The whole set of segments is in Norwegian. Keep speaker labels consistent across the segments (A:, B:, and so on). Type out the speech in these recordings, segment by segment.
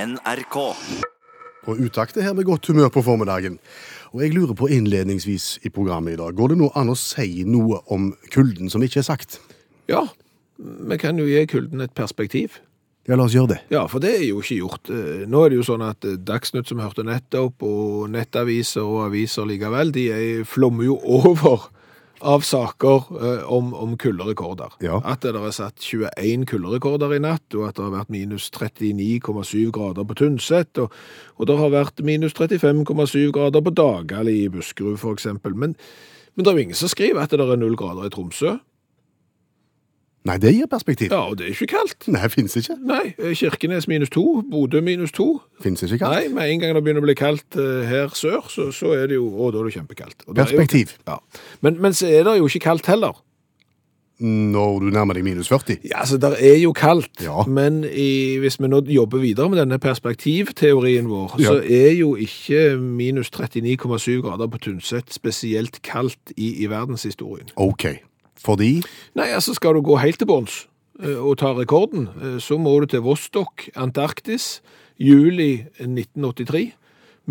A: NRK.
B: Og utakt er her med godt humør på formiddagen. Og jeg lurer på innledningsvis i programmet i dag, går det nå an å si noe om kulden som ikke er sagt?
C: Ja, vi kan jo gi kulden et perspektiv.
B: Ja, la oss gjøre det.
C: Ja, for det er jo ikke gjort. Eh, Nå er det jo sånn at eh, Dagsnytt som hørte nettopp, og nettaviser og aviser likevel, de er, flommer jo over av saker eh, om, om kulderekorder.
B: Ja.
C: At det der er satt 21 kulderekorder i natt, og at det har vært minus 39,7 grader på Tynset, og, og det har vært minus 35,7 grader på Dagali i Buskerud for eksempel. Men, men det er jo ingen som skriver at det der er 0 grader i Tromsø.
B: Nei, det gir perspektiv.
C: Ja, og det er ikke kaldt.
B: Nei, fins ikke.
C: Nei, Kirkenes minus to, Bodø minus to.
B: Fins ikke kaldt.
C: Nei, med en gang det begynner å bli kaldt eh, her sør, så, så er det jo Å, da er det kjempekaldt. Og det er jo-
B: Perspektiv.
C: ja. men, men så er det jo ikke kaldt heller.
B: Når du nærmer deg minus 40.
C: Ja, altså, Det er jo kaldt,
B: Ja.
C: men i, hvis vi nå jobber videre med denne perspektivteorien vår,
B: Ja.
C: så er jo ikke minus 39,7 grader på Tynset spesielt kaldt i, i verdenshistorien.
B: OK. Fordi
C: Nei, altså skal du gå helt til bunns eh, og ta rekorden, eh, så må du til Vostok, Antarktis, juli 1983,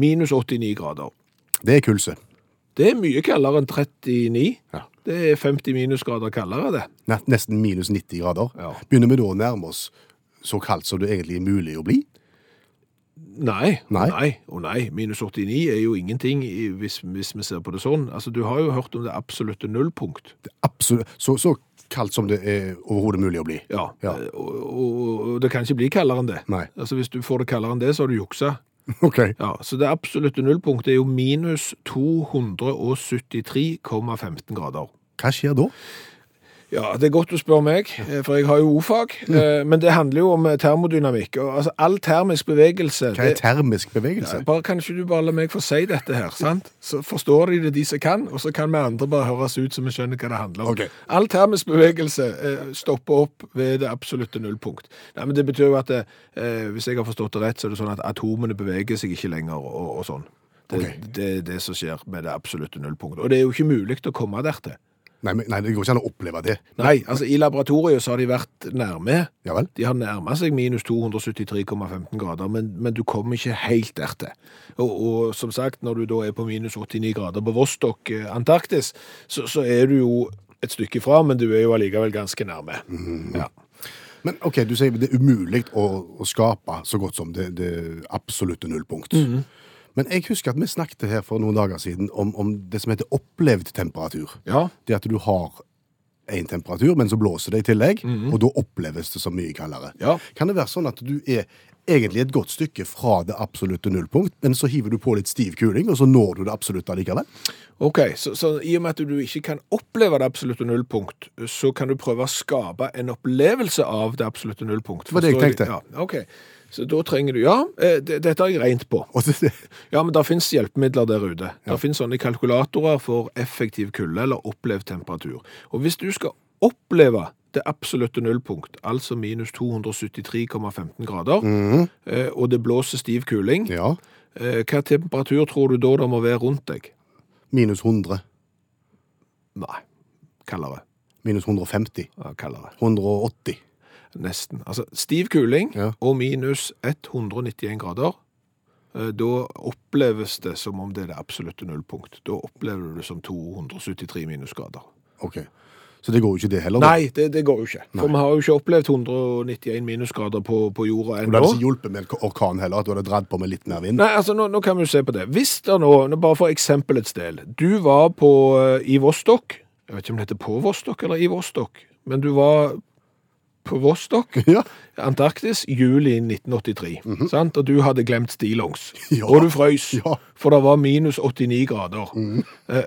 C: minus 89 grader.
B: det er kulse.
C: Det er mye kaldere enn 39.
B: Ja.
C: Det er 50 minusgrader kaldere, det.
B: Ne- Nesten minus 90 grader.
C: Ja.
B: Begynner vi da å nærme oss så kaldt som det egentlig er mulig å bli?
C: Nei,
B: Nei.
C: nei, nei og nei. Minus 89 er jo ingenting i- hvis, hvis vi ser på det sånn. Altså, du har jo hørt om det absolutte nullpunkt.
B: Det er absolutt så, så kaldt som det er overhodet mulig å bli.
C: Ja,
B: Ja.
C: eh, Og, og, og det kan ikke bli kaldere enn det.
B: Nei.
C: Altså, hvis du får det kaldere enn det, så har du juksa.
B: OK.
C: Ja, så det absolutte nullpunktet er jo minus 273,15 grader.
B: Hva skjer da?
C: Ja, det er godt du spør meg, eh, for jeg har jo ordfag, eh, men det handler jo om eh, termodynamikk. Og, altså, all termisk bevegelse...
B: Hva er
C: det-
B: termisk bevegelse?
C: Ja, bare, kan ikke du bare la meg få si dette her, sant? Så forstår de det, de som kan, og så kan vi andre bare høres ut som vi skjønner hva det handler om.
B: Ok.
C: All termisk bevegelse eh, stopper opp ved det absolutte nullpunkt. Nei, men det betyr jo at, eh, hvis jeg har forstått det rett, så er det sånn at atomene beveger seg ikke lenger og, og sånn. Det,
B: Ok.
C: det er det som skjer med det absolutte nullpunktet. Og det er jo ikke mulig å komme der til.
B: Nei, men, nei, det går ikke an å oppleve det.
C: Nei, altså i laboratoriet så har de vært nærme.
B: Ja vel?
C: De har nærmet seg minus 273,15 grader, men, men du kommer ikke helt dertil. Og, og som sagt, når du da er på minus 89 grader på Vostok, eh, Antarktis, så, så er du jo et stykke fra, men du er jo allikevel ganske nærme.
B: Mhm.
C: Ja.
B: Men ok, du sier det er umulig å, å skape så godt som det, det absolutte nullpunkt. Men jeg husker at vi snakket her for noen dager siden om, om det som heter opplevd temperatur.
C: ja.
B: Det at du har en temperatur, men så blåser det i tillegg, og da oppleves det som mye kaldere.
C: Ja.
B: Kan det være sånn at du er egentlig et godt stykke fra det absolutte nullpunkt, men så hiver du på litt stiv kuling, og så når du det absolutte allikevel?
C: Ok, så, så i og med at du ikke kan oppleve det absolutte nullpunkt, så kan du prøve å skape en opplevelse av det absolutte nullpunkt.
B: var det jeg
C: Forstår jeg?
B: tenkte.
C: Ja, ok. Så da trenger du, ja, eh, det, dette har jeg regnet på.
B: Og det, det,
C: Ja, men det finnes hjelpemidler der ute. Det finnes sånne kalkulatorer for effektiv kulde eller opplevd temperatur. Og hvis du skal oppleve det absolutte nullpunkt, altså minus 273,15 grader, eh, og det blåser stiv kuling,
B: Mhm. ja,
C: eh, hva temperatur tror du da det må være rundt deg?
B: minus 100,
C: Nei, kaldere.
B: minus 150,
C: Ja, kaldere.
B: 180.
C: Nesten. Altså, stiv kuling
B: Ja.
C: og minus 191 grader, eh, da oppleves det som om det er det absolutte nullpunkt. Da opplever du det som 273 minusgrader.
B: Ok, så det går jo ikke det heller. da.
C: Nei, det, det går jo ikke. For vi har jo ikke opplevd 191 minusgrader på, på jorda
B: Og det
C: ennå.
B: hadde ikke hjulpet med en orkan heller, at du hadde dratt på med litt mer vind.
C: Nei, altså nå, nå kan vi jo se på det. Hvis det nå, nå bare for eksempelets del, du var på, eh, i Vostok, jeg vet ikke om det heter på Vostok eller i Vostok, men du var på Vostok,
B: Ja.
C: Antarktis, juli 1983, sant? Og du hadde glemt stillongs.
B: Mhm. Ja.
C: Og du frøys,
B: Ja. Mhm.
C: for det var minus 89 grader. Eh,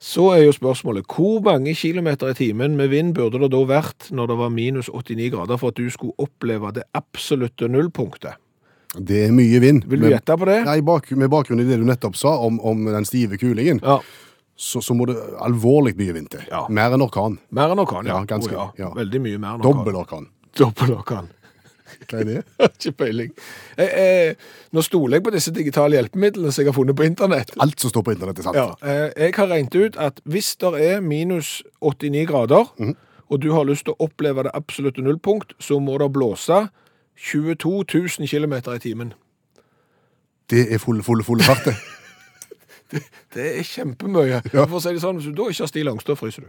C: Så er jo spørsmålet, hvor mange kilometer i timen med vind burde det da vært når det var minus 89 grader for at du skulle oppleve det absolutte nullpunktet?
B: Det er mye vind.
C: Vil du
B: Men-
C: gjette på det?
B: Nei, bak, med bakgrunn i det du nettopp sa om, om den stive kulingen,
C: Ja.
B: så, så må det alvorlig mye vind til.
C: Ja.
B: Mer enn orkan.
C: Mer enn orkan, ja.
B: Ja, ganske,
C: Å,
B: ja.
C: Veldig mye mer enn orkan.
B: Dobbel orkan.
C: Dobbel orkan.
B: Hva er det?
C: Ikke peiling. Eh, eh, nå stoler jeg på disse digitale hjelpemidlene som jeg har funnet på internett.
B: Alt som står på internett er sant.
C: Ja, eh, jeg har regnet ut at hvis det er minus 89 grader, og du har lyst til å oppleve det absolutte nullpunkt, så må det blåse 22 000 km i timen.
B: Det er full, full, full fart, det.
C: Det er kjempemye.
B: Ja.
C: For å si det sånn, hvis du da ikke har stillongs, da fryser du.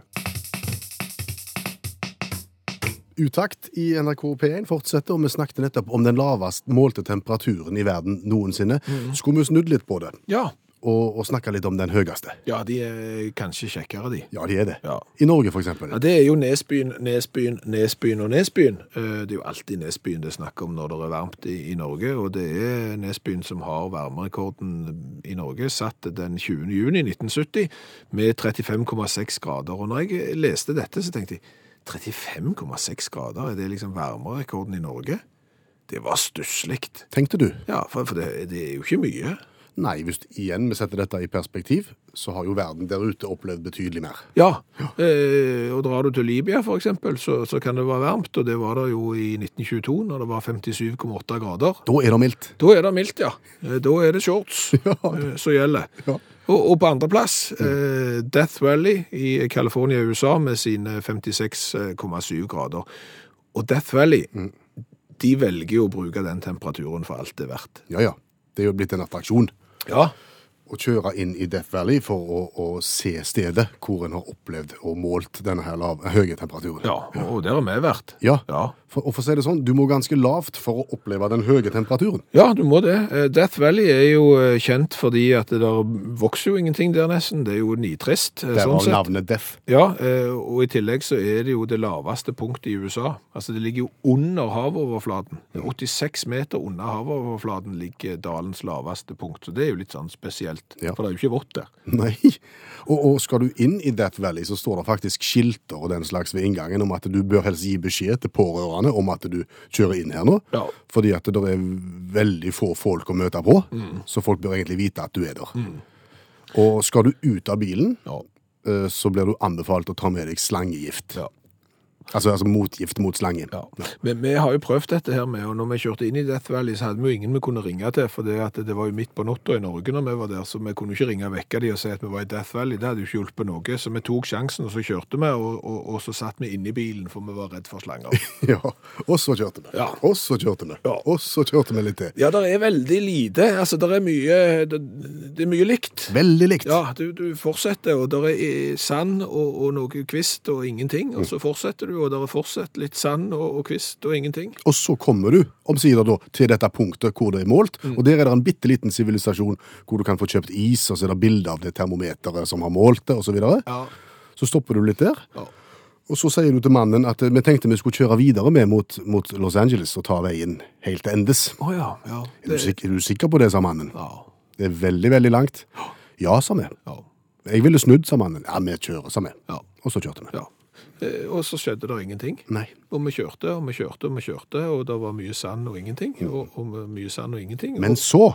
B: Utakt i NRK P1 fortsetter, og vi snakket nettopp om den lavest målte temperaturen i verden noensinne.
C: Mm.
B: Skulle vi snudd litt på det,
C: Ja.
B: og, og snakke litt om den høyeste?
C: ja, de er kanskje kjekkere, de.
B: Ja, de er det.
C: Ja.
B: I Norge, for eksempel.
C: Ja, Det er jo Nesbyen, Nesbyen, Nesbyen og Nesbyen. Eh, Det er jo alltid Nesbyen det er snakk om når det er varmt i, i Norge, og det er Nesbyen som har varmerekorden i Norge, satt den 20. juni 1970 med 35,6 grader. Og når jeg leste dette, så tenkte jeg 35,6 grader, er det liksom varmerekorden i Norge? Det var stusslig.
B: Tenkte du?
C: Ja, for, for det, det er jo ikke mye.
B: Nei, hvis igjen vi setter dette i perspektiv, så har jo verden der ute opplevd betydelig mer.
C: Ja, eh, og drar du til Libya for eksempel, så, så kan det være varmt, og det var det jo i 1922 når det var 57,8 grader.
B: Da er det mildt.
C: Da er det mildt, ja. Eh, Da er det shorts eh, som gjelder.
B: Ja.
C: Og, og på andreplass, eh, Death Valley i California i USA med sine 56,7 grader. Og Death Valley, de velger jo å bruke den temperaturen for alt det er verdt.
B: Ja, ja. Det er jo blitt en attraksjon
C: Ja,
B: å kjøre inn i Death Valley for å, å se stedet hvor en har opplevd og målt denne her lav, høye temperaturen.
C: ja og der har vi vært.
B: Ja.
C: Ja.
B: For, og for å si det sånn, du må ganske lavt for å oppleve den høye temperaturen.
C: Ja, du må det. Eh, Death Valley er jo eh, kjent fordi at det der vokser jo ingenting der nesten. Det er jo nitrist. eh,
B: Der
C: sånn
B: var
C: sett.
B: navnet Death.
C: Ja, eh, og i tillegg så er det jo det laveste punktet i USA. Altså det ligger jo under havoverflaten. 86 meter under havoverflaten ligger dalens laveste punkt. Så det er jo litt sånn spesielt,
B: Ja.
C: for det er jo ikke vått der.
B: Nei. Og, og skal du inn i Death Valley, så står det faktisk skilter og den slags ved inngangen om at du bør helst gi beskjed til pårørende om at du kjører inn her nå.
C: Ja.
B: Fordi at det er veldig få folk å møte på,
C: Mm.
B: så folk bør egentlig vite at du er der. Og skal du ut av bilen,
C: Ja.
B: eh, så blir du anbefalt å ta med deg slangegift.
C: Ja.
B: Altså, altså motgift mot slange.
C: Ja. Men vi har jo prøvd dette her med, og når vi kjørte inn i Death Valley, så hadde vi jo ingen vi kunne ringe til, for det, at det var jo midt på natta i Norge når vi var der, så vi kunne ikke ringe og vekke de og si at vi var i Death Valley. Det hadde jo ikke hjulpet noe. Så vi tok sjansen, og så kjørte vi, og, og, og så satt vi inne i bilen, for vi var redd for slanger.
B: Ja. Og så kjørte vi.
C: Ja.
B: Og så kjørte vi.
C: Ja.
B: Og så kjørte vi litt til.
C: Ja, det er veldig lite. Altså, det er mye, det, det er mye likt.
B: Veldig likt.
C: Ja, du, du fortsetter, og der er sand og, og noe kvist og ingenting, og så fortsetter du, og der er fortsatt litt sand og, og kvist og ingenting.
B: Og så kommer du omsider da til dette punktet hvor det er målt,
C: Mm.
B: og der er det en bitte liten sivilisasjon hvor du kan få kjøpt is, og så er det bilde av det termometeret som har målt det, osv. Så, videre.
C: Ja,
B: så stopper du litt der,
C: ja.
B: og så sier du til mannen at eh, vi tenkte vi skulle kjøre videre med mot, mot Los Angeles og ta veien helt til endes.
C: Å ja, ja.
B: Er du, sikker, er du sikker på det, sa mannen.
C: Ja,
B: Det er veldig, veldig langt. Ja, sa vi.
C: ja,
B: Jeg ville snudd, sa mannen. Ja, vi kjører, sa vi.
C: ja.
B: Og så kjørte vi.
C: Ja. Eh, Og så skjedde det ingenting.
B: Nei.
C: Og vi kjørte og vi kjørte og vi kjørte, og det var mye sand og ingenting. Og, og mye sand og ingenting.
B: Men så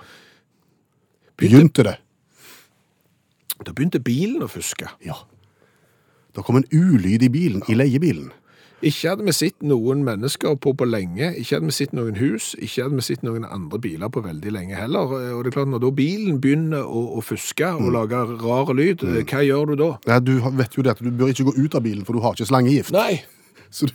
B: begynte det.
C: Og da begynte bilen å fuske.
B: Ja. Da kom en ulyd i bilen, i leiebilen.
C: Ikke hadde vi sett noen mennesker på på lenge, ikke hadde vi sett noen hus, ikke hadde vi sett noen andre biler på veldig lenge heller. Eh, Og det er klart, når da bilen begynner å, å fuske
B: Mm.
C: og lage rar lyd, eh, hva gjør du da?
B: Nei, du har- vet jo det at du bør ikke gå ut av bilen, for du har ikke slangegift.
C: Nei,
B: Så, du,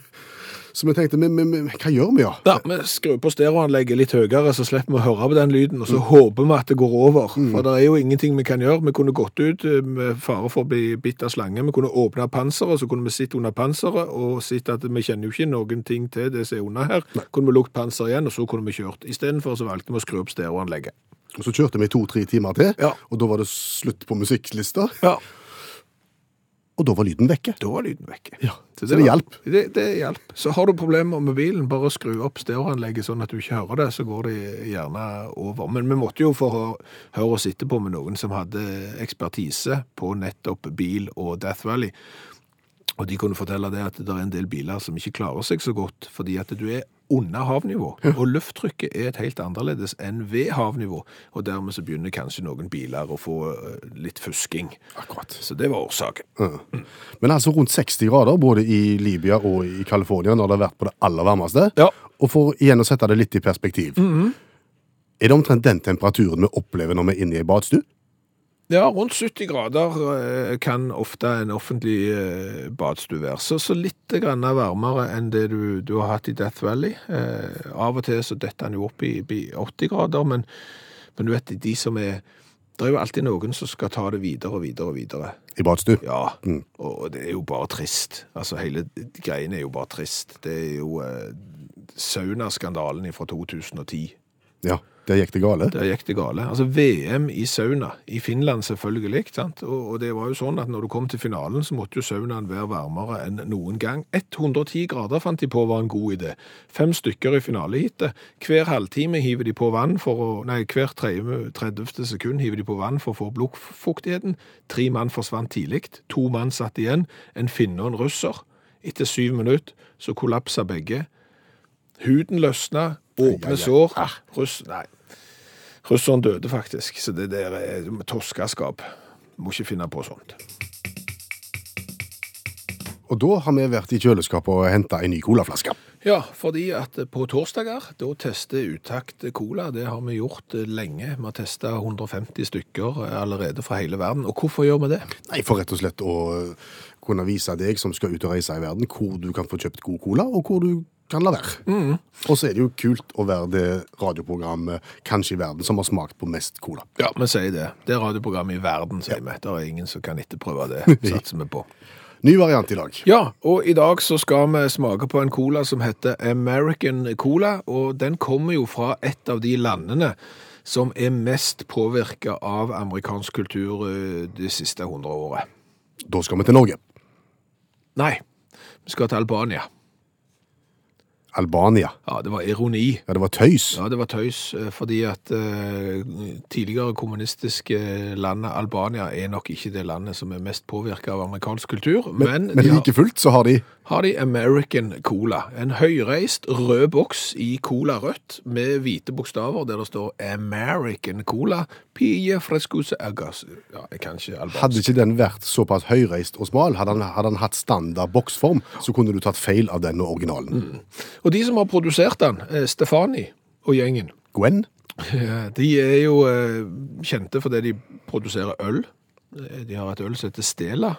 B: så vi tenkte, men, men, men hva gjør vi da?
C: da, vi skrur på stereoanlegget litt høyere, så slipper vi å høre på den lyden, og så
B: Mm.
C: håper vi at det går over. For det er jo ingenting vi kan gjøre. Vi kunne gått ut eh, med fare for å bli bitt av slange. Vi kunne åpne panseret, så kunne vi sitte under panseret og sett at vi kjenner jo ikke noen ting til det som er under her. Kunne vi lukket panseret igjen, og så kunne vi kjørt. Istedenfor så valgte vi å skru opp stereoanlegget.
B: Og så kjørte vi i to-tre timer til,
C: Ja.
B: og da var det slutt på musikklista,
C: Ja.
B: og da var lyden vekke.
C: Da var lyden vekke.
B: Så det
C: var-
B: hjalp.
C: Det, det hjalp. Så har du problemer med bilen, bare skru opp stereoanlegget sånn at du ikke hører det, så går det gjerne over. Men vi måtte jo få høre- høre oss etterpå med noen som hadde ekspertise på nettopp bil og Death Valley. Og de kunne fortelle det at det er en del biler som ikke klarer seg så godt, fordi at du er under havnivå, og lufttrykket er et helt annerledes enn ved havnivå, og dermed så begynner kanskje noen biler å få eh, litt fusking.
B: Akkurat.
C: Så det var årsaken.
B: Ja. Men altså rundt 60 grader, både i Libya og i Kalifornien, når det har vært på det aller varmeste.
C: Ja.
B: Og for igjen å sette det litt i Mhm. perspektiv, er det omtrent den temperaturen vi opplever når vi er inne i en badstue?
C: Ja, rundt 70 grader eh, kan ofte en offentlig eh, badstue være. Så, så litt grann varmere enn det du, du har hatt i Death Valley. Eh, av og til så detter den jo opp i, i 80 grader, men, men du vet, de som er Det er jo alltid noen som skal ta det videre og videre og videre.
B: I badstue.
C: Ja, og og det er jo bare trist. Altså, hele greien er jo bare trist. Det er jo eh, saunaskandalen fra 2010.
B: Ja. Der gikk det gale.
C: Der gikk det gale. Altså VM i sauna, i Finland selvfølgelig, sant? Og, og det var jo sånn at når du kom til finalen, så måtte jo saunaen være varmere enn noen gang. 110 grader fant de på var en god idé. Fem stykker i finaleheatet. Hver halvtime hiver de på vann for å, nei, hver 30. 30. sekund hiver de på vann for å få blokkfuktigheten. Tre mann forsvant tidlig, to mann satt igjen, en finne og en russer. Etter syv minutter så kollapsa begge. Huden løsna,
B: Ai, ai, ai.
C: åpne sår. Russ, nei. Russeren døde faktisk, så det der er toskaskap. Må ikke finne på sånt.
B: Og da har vi vært i kjøleskapet og henta ei ny colaflaske.
C: Ja, fordi at på torsdager, da tester Utakt Cola. Det har vi gjort lenge. Vi har testa 150 stykker allerede fra hele verden. Og hvorfor gjør vi det?
B: Nei, for rett og slett å eh, kunne vise deg som skal ut og reise i verden, hvor du kan få kjøpt god cola, og hvor du kan la være.
C: Mm.
B: Og så er det jo kult å være det radioprogrammet kanskje i verden som har smakt på mest cola.
C: Ja, vi sier det. Det er radioprogrammet i verden, sier vi. Det er ingen som kan etterprøve det, satser vi på.
B: Ny variant i dag.
C: Ja, og i dag så skal vi smake på en cola som heter American Cola, og den kommer jo fra et av de landene som er mest påvirket av amerikansk kultur eh, de siste hundre året.
B: Da skal vi til Norge.
C: Nei, vi skal til Albania.
B: Albania.
C: Ja, det var ironi.
B: Ja, det var tøys.
C: Ja, det var tøys, eh, fordi at eh, tidligere kommunistiske landet Albania er nok ikke det landet som er mest påvirket av amerikansk kultur, men,
B: Men
C: de har-
B: like fullt så har de
C: har de American Cola. En høyreist rød boks i Cola Rødt med hvite bokstaver der det står American Cola. Pie frescuse agas. Ja, jeg kan ikke
B: Hadde
C: albansk.
B: ikke den vært såpass høyreist og smal, hadde han, hadde han hatt standard boksform, så kunne du tatt feil av den og originalen.
C: Mm. Og de som har produsert den, eh, Stefani og gjengen,
B: Gwen?
C: eh, de er jo eh, kjente fordi de produserer øl. Eh, De har et øl som heter Stela,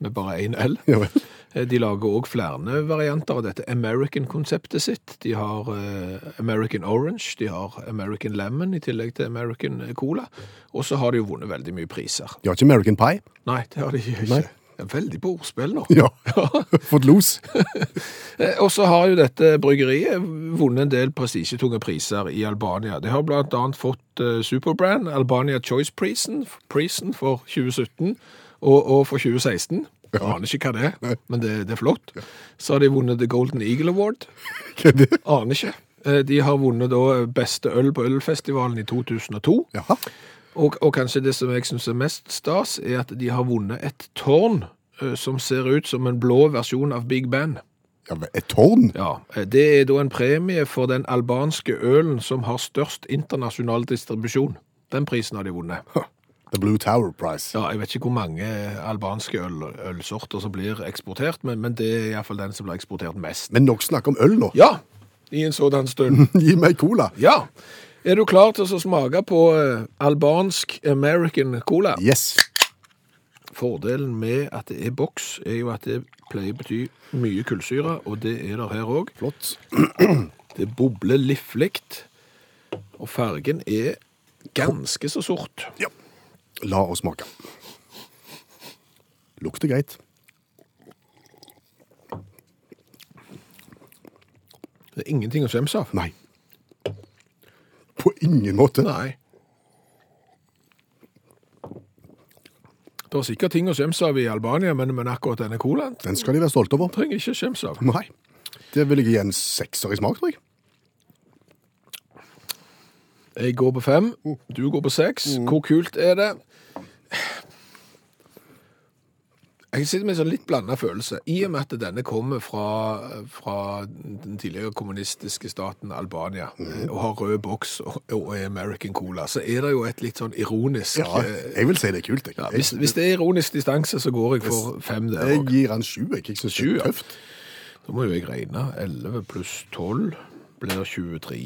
C: med bare én L.
B: Ja vel.
C: Eh, De lager òg flere varianter av dette American-konseptet sitt. De har eh, American Orange, de har American Lemon i tillegg til American eh, Cola. Og så har de jo vunnet veldig mye priser.
B: De har ikke American Pie?
C: Nei, det har de ikke.
B: Nei.
C: Det er Veldig på ordspill nå.
B: Ja. Fått los?
C: Eh, Og så har jo dette bryggeriet vunnet en del prestisjetunge priser i Albania. Det har blant annet fått eh, Superbrand, Albania Choice Prisen, prisen for 2017 og, og for 2016. Jeg aner ikke hva det er, men det, det er flott. Så har de vunnet The Golden Eagle Award.
B: Hva er det?
C: Aner ikke. Eh, De har vunnet da eh, beste øl på ølfestivalen i 2002.
B: Jaha.
C: Og, og kanskje det som jeg syns er mest stas, er at de har vunnet et tårn eh, som ser ut som en blå versjon av Big Ben.
B: Ja, men et tårn?
C: Ja, eh, Det er da en premie for den albanske ølen som har størst internasjonal distribusjon. Den prisen har de vunnet.
B: The Blue Tower Prize.
C: Ja, Jeg vet ikke hvor mange eh, albanske øl, ølsorter som blir eksportert, men, men det er iallfall den som blir eksportert mest.
B: Men nok snakk om øl nå.
C: Ja, i en sådan stund.
B: Gi meg cola.
C: Ja. Er du klar til å smake på eh, albansk American Cola?
B: Yes.
C: Fordelen med at det er boks, er jo at det pleier å bety mye kullsyre, og det er det her òg.
B: Flott.
C: Det bobler liflig, og fargen er ganske så sort.
B: Ja. La oss smake. Lukter greit.
C: Det er ingenting å skjemmes av.
B: Nei. På ingen måte.
C: Nei. Det er sikkert ting å skjemmes av i Albania, men, men akkurat denne colaen
B: Den skal de være stolte over.
C: trenger ikke skjemmes av.
B: Nei. Det vil jeg gi en sekser i smak, tror jeg.
C: Jeg går på fem,
B: Mm.
C: du går på seks. Hvor kult er det? Jeg sitter med en sånn litt blanda følelse. I og med at denne kommer fra, fra den tidligere kommunistiske staten Albania
B: Mm.
C: eh, og har rød boks og, og er American Cola, så er det jo et litt sånn ironisk
B: Ja,
C: eh,
B: jeg vil si det er kult. Jeg,
C: ja,
B: jeg,
C: hvis, hvis det er ironisk distanse, så går jeg for fem der
B: jeg
C: òg.
B: gir han sju. Jeg, jeg syns det
C: Sju,
B: er
C: ja.
B: tøft.
C: Da må jo jeg regne. 11 pluss 12 blir 23.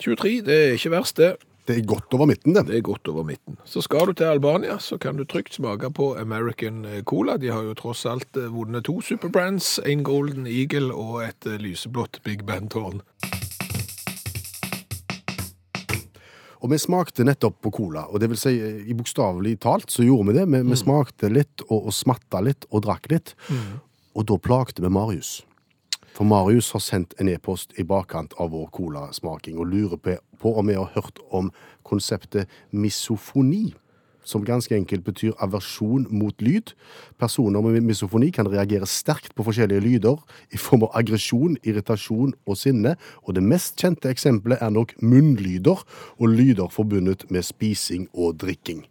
C: 23, det er ikke verst, det.
B: Det er godt over midten, det.
C: Det er godt over midten. Så skal du til Albania, så kan du trygt smake på American eh, Cola. De har jo tross alt eh, vunnet to Superbrands, en Golden Eagle og et eh, lyseblått Big Band-tårn.
B: Og vi smakte nettopp på cola, og det vil si, eh, i bokstavelig talt så gjorde vi det. Vi, vi smakte litt, og, og smatta litt, og drakk litt. Og da plagte vi Marius. For Marius har sendt en e-post i bakkant av vår colasmaking, og lurer på, på om vi har hørt om konseptet misofoni. Som ganske enkelt betyr aversjon mot lyd. Personer med misofoni kan reagere sterkt på forskjellige lyder i form av aggresjon, irritasjon og sinne, og det mest kjente eksempelet er nok munnlyder og lyder forbundet med spising og drikking.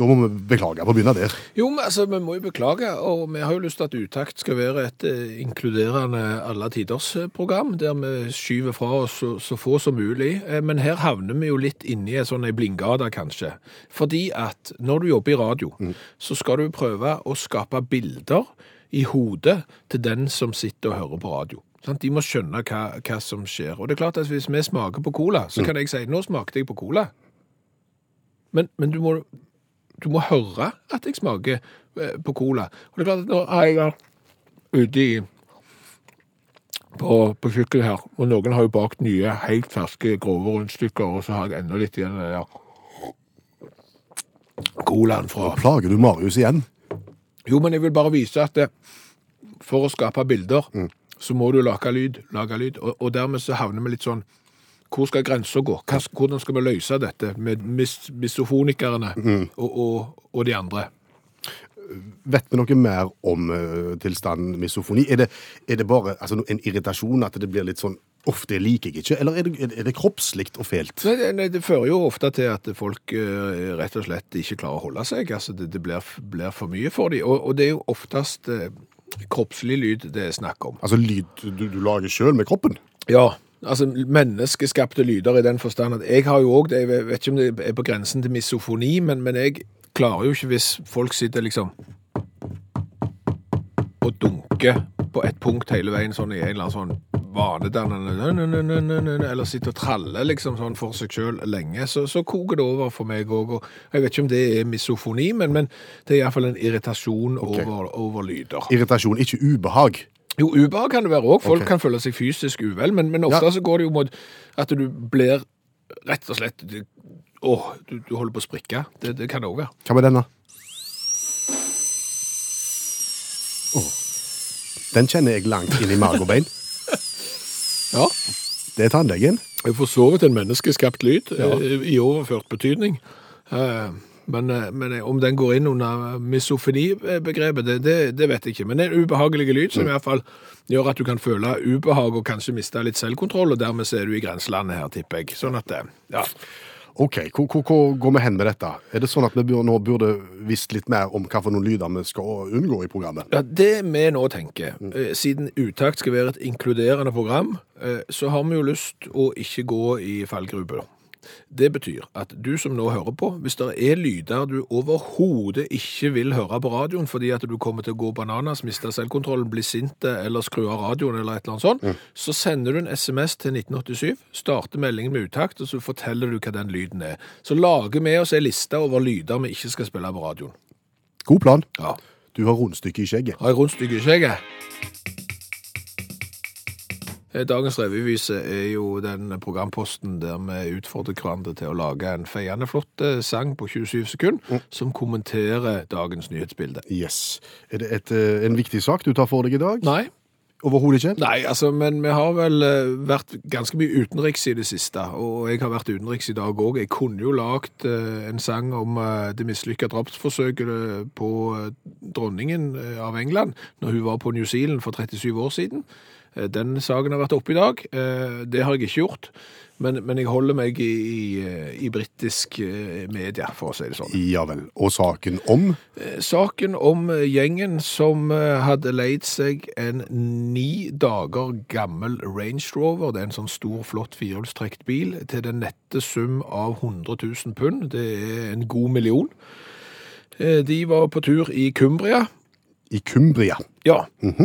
B: Da må vi beklage på å begynne der.
C: Jo, men altså, vi må jo beklage, og vi har jo lyst til at Utakt skal være et eh, inkluderende alle tiders eh, program, der vi skyver fra oss så, så få som mulig. Eh, Men her havner vi jo litt inni en sånn ei blindgate, kanskje. Fordi at når du jobber i radio, så skal du prøve å skape bilder i hodet til den som sitter og hører på radio. Sant? De må skjønne hva, hva som skjer. Og det er klart at hvis vi smaker på cola, så kan jeg si nå smakte jeg på cola. Men, men du, må, du må høre at jeg smaker eh, på cola. Og det er klart at nå har jeg vært ute i på, på kjøkkenet her, og noen har jo bakt nye, helt ferske, grove rundstykker, og så har jeg enda litt igjen av den der colaen fra
B: Plager du Marius igjen?
C: Jo, men jeg vil bare vise at det, for å skape bilder, så må du lage lyd, lage lyd, og, og dermed så havner vi litt sånn hvor skal grenser gå? Hva, hvordan skal vi løse dette med mis, misofonikerne og, og, og de andre?
B: Vet vi noe mer om eh, tilstanden misofoni? Er det, er det bare altså, no- en irritasjon at det blir litt sånn Uff, det liker jeg ikke. Eller er det, er det- er det kroppslikt og fælt?
C: Nei, det, nei, det fører jo ofte til at folk eh, rett og slett ikke klarer å holde seg. Altså, det, det blir, blir for mye for dem. Og, og det er jo oftest eh, kroppslig lyd det er snakk om.
B: Altså lyd du, du lager sjøl med kroppen?
C: Ja, altså menneskeskapte lyder i den forstand at jeg har jo òg det, jeg vet ikke om det er på grensen til misofoni, men, men jeg klarer jo ikke hvis folk sitter liksom og dunker på et punkt hele veien sånn i en eller annen sånn vanedannende nø, nø, nø, nø, nø, nø, Eller sitter og traller liksom sånn for seg sjøl lenge, så, så koker det over for meg òg. Og jeg vet ikke om det er misofoni, men, men det er iallfall en irritasjon over, over lyder.
B: Irritasjon, ikke ubehag.
C: Jo, ubehag kan det være òg. Folk
B: Ok.
C: kan føle seg fysisk uvel, men, men ofte
B: Ja.
C: så går det jo mot at du blir rett og slett du- Åh, du, du holder på å sprikke. Det, det kan det òg være.
B: Hva med denne? Åh. Den kjenner jeg langt inn i marg og bein.
C: Ja.
B: Det er tannlegen.
C: Jeg for så vidt en menneskeskapt lyd eh, i overført betydning. Eh, Men, eh, men eh, om den går inn under misofoni-begrepet, det, det, det vet jeg ikke. Men det er en ubehagelig lyd som i hvert fall gjør at du kan føle ubehag og kanskje miste litt selvkontroll, og dermed så er du i grenselandet her, tipper jeg. Sånn at, eh, ja.
B: Ok, hvor, hvor, hvor går vi hen med dette? Er det sånn at vi burde, nå burde visst litt mer om hva for noen lyder vi skal unngå i programmet?
C: Ja, Det vi nå tenker, eh, siden Utakt skal være et inkluderende program, eh, så har vi jo lyst å ikke gå i fallgrupe. Det betyr at du som nå hører på, hvis det er lyder du overhodet ikke vil høre på radioen fordi at du kommer til å gå bananas, miste selvkontrollen, bli sint eller skru av radioen eller et eller annet sånt, så sender du en SMS til 1987, starter meldingen med Utakt, og så forteller du hva den lyden er. Så lager vi oss ei liste over lyder vi ikke skal spille på radioen.
B: God plan.
C: Ja.
B: Du har rundstykket i skjegget.
C: Har jeg rundstykke i skjegget? Eh, Dagens revyvise er jo den programposten der vi utfordrer hverandre til å lage en feiende flott eh, sang på 27 sekunder som kommenterer dagens nyhetsbilde.
B: Yes. Er det et, eh, en viktig sak du tar for deg i dag?
C: Nei,
B: Overhodet ikke?
C: nei, altså, men vi har vel eh, vært ganske mye utenriks i det siste, og jeg har vært utenriks i dag òg. Jeg kunne jo lagd eh, en sang om eh, det mislykka drapsforsøket på eh, dronningen eh, av England når hun var på New Zealand for 37 år siden. Eh, Den saken har vært oppe i dag. Eh, Det har jeg ikke gjort. Men, men jeg holder meg i, i, eh, i britisk eh, media, for å si det sånn.
B: Ja vel. Og saken om?
C: Eh, Saken om eh, gjengen som eh, hadde leid seg en ni dager gammel Range Rover, det er en sånn stor, flott firehjulstrekt bil, til den nette sum av 100 000 pund, det er en god million. Eh, De var på tur i Cumbria.
B: I Cumbria.
C: Ja,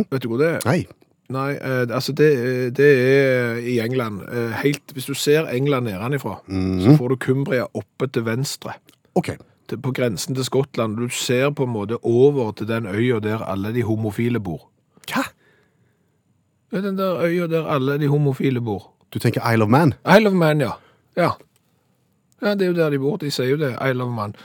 C: vet du hvor det er?
B: Nei.
C: Nei, eh, altså det, eh, det er i England. eh, Helt, hvis du ser England nedenfra, så får du Cumbria oppe til venstre.
B: OK.
C: Til, på grensen til Skottland. Du ser på en måte over til den øya der alle de homofile bor.
B: Hva?
C: Det er den der øya der alle de homofile bor.
B: Du tenker Isle of Man?
C: Isle of Man, ja. Ja. ja. Det er jo der de bor. De sier jo det. Isle of Man.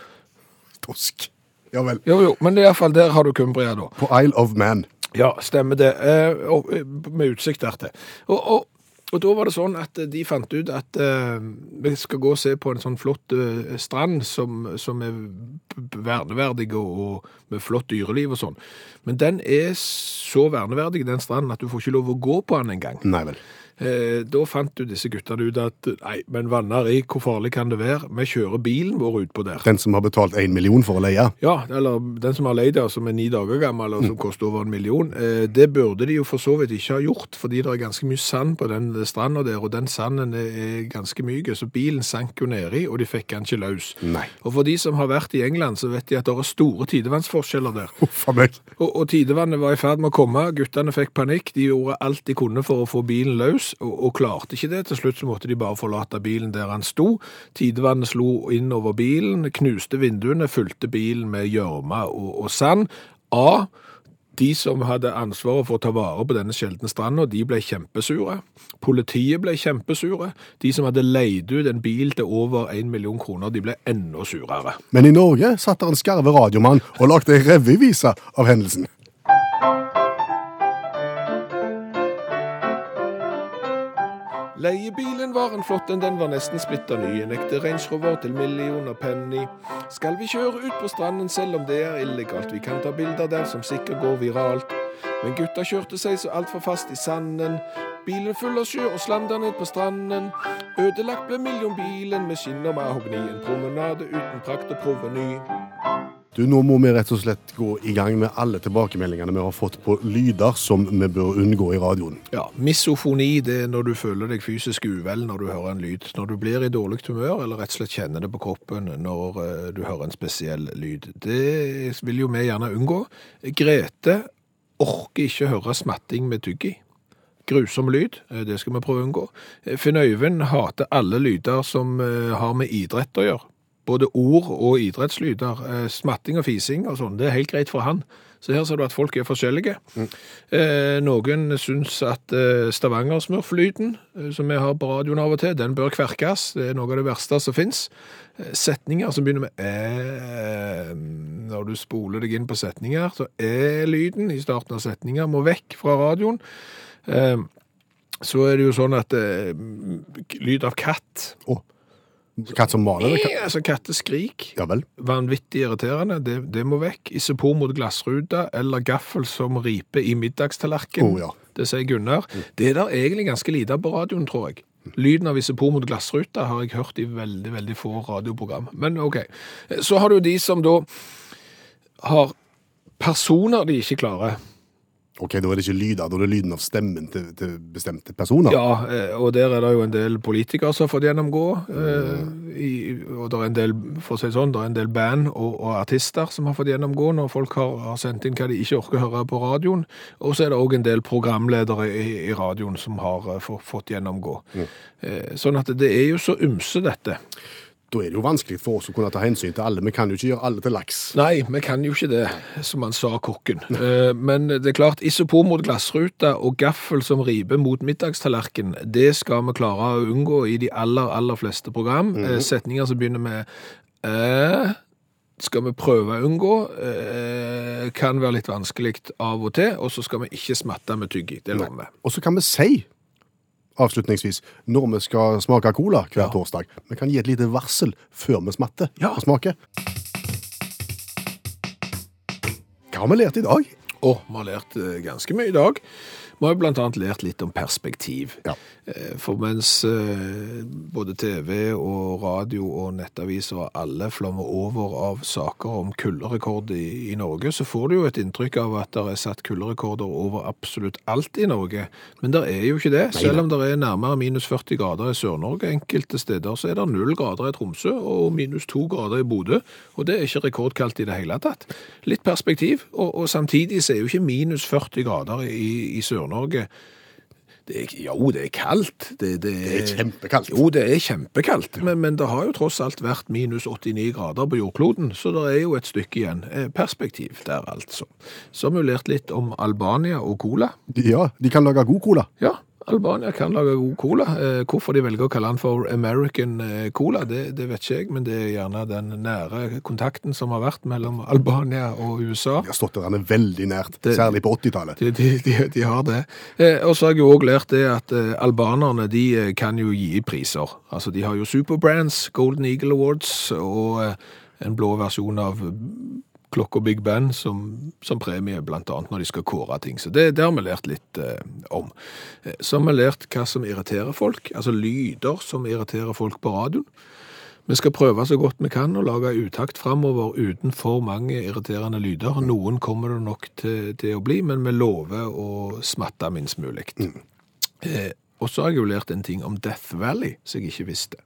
B: Tosk. Ja vel.
C: Jo, jo, men det er iallfall der har du Cumbria, da.
B: På Isle of Man.
C: Ja, stemmer det. Eh, og, eh, med utsikt dertil. Og, og, og da var det sånn at de fant ut at eh, vi skal gå og se på en sånn flott eh, strand som, som er b- b- verneverdig og, og med flott dyreliv og sånn. Men den er så verneverdig, den stranden, at du får ikke lov å gå på den engang.
B: Nei vel.
C: Eh, da fant jo disse guttene ut at nei, men Vannarik, hvor farlig kan det være? Vi kjører bilen vår utpå der.
B: Den som har betalt én million for å leie.
C: Ja, eller den som har leid det, som er ni dager gammel, og som koster over en million. Eh, det burde de jo for så vidt ikke ha gjort, fordi det er ganske mye sand på den stranda der, og den sanden er er ganske myk, så bilen sank jo nedi, og de fikk den ikke løs.
B: Nei.
C: Og for de som har vært i England, så vet de at det er store tidevannsforskjeller der.
B: Huff a meg.
C: Og, og tidevannet var i ferd med å komme, guttene fikk panikk, de gjorde alt de kunne for å få bilen løs, og, og klarte ikke det. Til slutt så måtte de bare forlate bilen der han sto. Tidevannet slo inn over bilen, knuste vinduene, fylte bilen med gjørme og, og sand. A. De som hadde ansvaret for å ta vare på denne sjeldne stranda, de ble kjempesure. Politiet ble kjempesure. De som hadde leid ut en bil til over én million kroner, de ble enda surere.
B: Men i Norge satt der en skarve radiomann og lagde ei revyvise av hendelsen.
C: Leiebilen var en flott en, den var nesten splitter ny. En ekte Range Rover til millioner penny. Skal vi kjøre ut på stranden selv om det er illegalt? Vi kan ta bilder der som sikkert går viralt. Men gutta kjørte seg så altfor fast i sanden. Bilen full av sjø og slam der ned på stranden. Ødelagt ble millionbilen med skinn og mahogni. En promenade uten prakt og proveny.
B: Du, Nå må vi rett og slett gå i gang med alle tilbakemeldingene vi har fått på lyder som vi bør unngå i radioen.
C: Ja, misofoni det er når du føler deg fysisk uvel når du hører en lyd. Når du blir i dårlig humør, eller rett og slett kjenner det på kroppen når eh, du hører en spesiell lyd. Det vil jo vi gjerne unngå. Grete orker ikke høre smatting med tygg i. Grusom lyd, eh, det skal vi prøve å unngå. Eh, Finn Øyvind hater alle lyder som eh, har med idrett å gjøre. Både ord og idrettslyder. eh, Smatting og fising og sånn, det er helt greit for han. Så her ser du at folk er forskjellige. Eh, noen syns at eh, Stavanger-smurflyden, eh, som vi har på radioen av og til, den bør kverkes. Det er noe av det verste som fins. Eh, setninger som begynner med æ Når du spoler deg inn på setninger, så æ-lyden i starten av setninger må vekk fra radioen. Eh, så er det jo sånn at eh, lyd av katt
B: Katt som maler? eller Katt?
C: Altså katteskrik.
B: Ja vel.
C: Vanvittig irriterende, det, det må vekk. Isopor mot glassruta, eller gaffel som riper i middagstallerken.
B: Å, ja.
C: Det sier Gunnar. Det er der egentlig ganske lite av på radioen, tror jeg. Lyden av isopor mot glassruta har jeg hørt i veldig, veldig få radioprogram. Men ok. Så har du de som da har personer de ikke klarer.
B: Ok, Da er det ikke lyder, da er det lyden av stemmen til, til bestemte personer.
C: Ja, eh, og der er det jo en del politikere som har fått gjennomgå. eh, i- Og det er en del for å si det sånn, det er en del band og, og artister som har fått gjennomgå når folk har, har sendt inn hva de ikke orker å høre på radioen. Og så er det òg en del programledere i, i radioen som har eh, få- fått gjennomgå. Eh, Sånn at det er jo så ymse, dette.
B: Da er det jo vanskelig for oss å kunne ta hensyn til alle. Vi kan jo ikke gjøre alle til laks.
C: Nei, vi kan jo ikke det, som han sa, kokken. Eh, Men det er klart, isopor mot glassruta og gaffel som riber mot middagstallerken, det skal vi klare å unngå i de aller, aller fleste program. Eh, Setninger som begynner med eh, skal vi prøve å unngå, eh, kan være litt vanskelig av og til, og så skal vi ikke smatte med tygg i. Det lover vi.
B: Og så kan vi si, avslutningsvis, når vi skal smake cola hver torsdag, vi kan gi et lite varsel før vi smatter
C: Ja.
B: og smaker. Hva har vi lært i dag?
C: Og vi har lært eh, ganske mye i dag. Vi har jo blant annet lært litt om perspektiv.
B: Ja.
C: Eh, For mens eh, både TV og radio og nettaviser og alle flommer over av saker om kulderekord i, i Norge, så får du jo et inntrykk av at det er satt kulderekorder over absolutt alt i Norge. Men det er jo ikke det. Selv om det er nærmere minus 40 grader i Sør-Norge enkelte steder, så er det null grader i Tromsø og minus to grader i Bodø. Og det er ikke rekordkaldt i det hele tatt. Litt perspektiv, og, og samtidig så er jo ikke minus 40 grader i, i Nord-Norge det er, ikke- Jo, det er kaldt. Det,
B: Det er kjempekaldt.
C: Eh, Jo, det er kjempekaldt, men, men det har jo tross alt vært minus 89 grader på jordkloden, så det er jo et stykke igjen. Eh, Perspektiv der, altså. Så har vi jo lært litt om Albania og cola.
B: Ja, de kan lage god cola.
C: Ja, Albania kan lage god cola. Eh, Hvorfor de velger å kalle den for American eh, Cola, det, det vet ikke jeg, men det er gjerne den nære kontakten som har vært mellom Albania og USA.
B: De har stått hverandre veldig nært,
C: Det-
B: særlig på 80-tallet.
C: De, de, de, de har det. Eh, og så har jeg jo òg lært det at eh, albanerne de eh, kan jo gi priser. Altså De har jo Superbrands, Golden Eagle Awards og eh, en blå versjon av eh, klokka Big Band som, som premie, blant annet når de skal kåre ting. Så det, det har vi lært litt eh, om. Eh, Så har vi lært hva som irriterer folk, altså lyder som irriterer folk på radioen. Vi skal prøve så godt vi kan å lage utakt framover uten for mange irriterende lyder. Noen kommer det nok til, til å bli, men vi lover å smatte minst mulig. Eh, og så har jeg jo lært en ting om Death Valley som jeg ikke visste.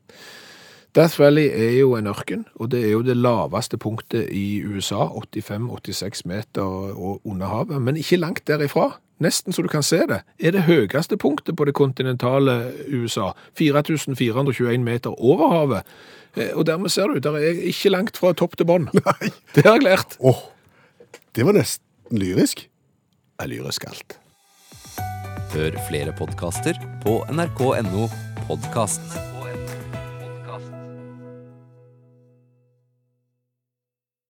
C: Death Valley er jo en ørken, og det er jo det laveste punktet i USA, 85-86 meter og under havet, men ikke langt derifra. Nesten så du kan se det, er det høyeste punktet på det kontinentale USA. 4421 meter over havet. Eh, Og dermed ser du, der er ikke langt fra topp til bånn.
B: Nei.
C: Det har jeg lært.
B: Åh, det var nesten lyrisk.
C: Jeg lyrisk alt.
A: Hør flere podkaster på nrk.no podkast.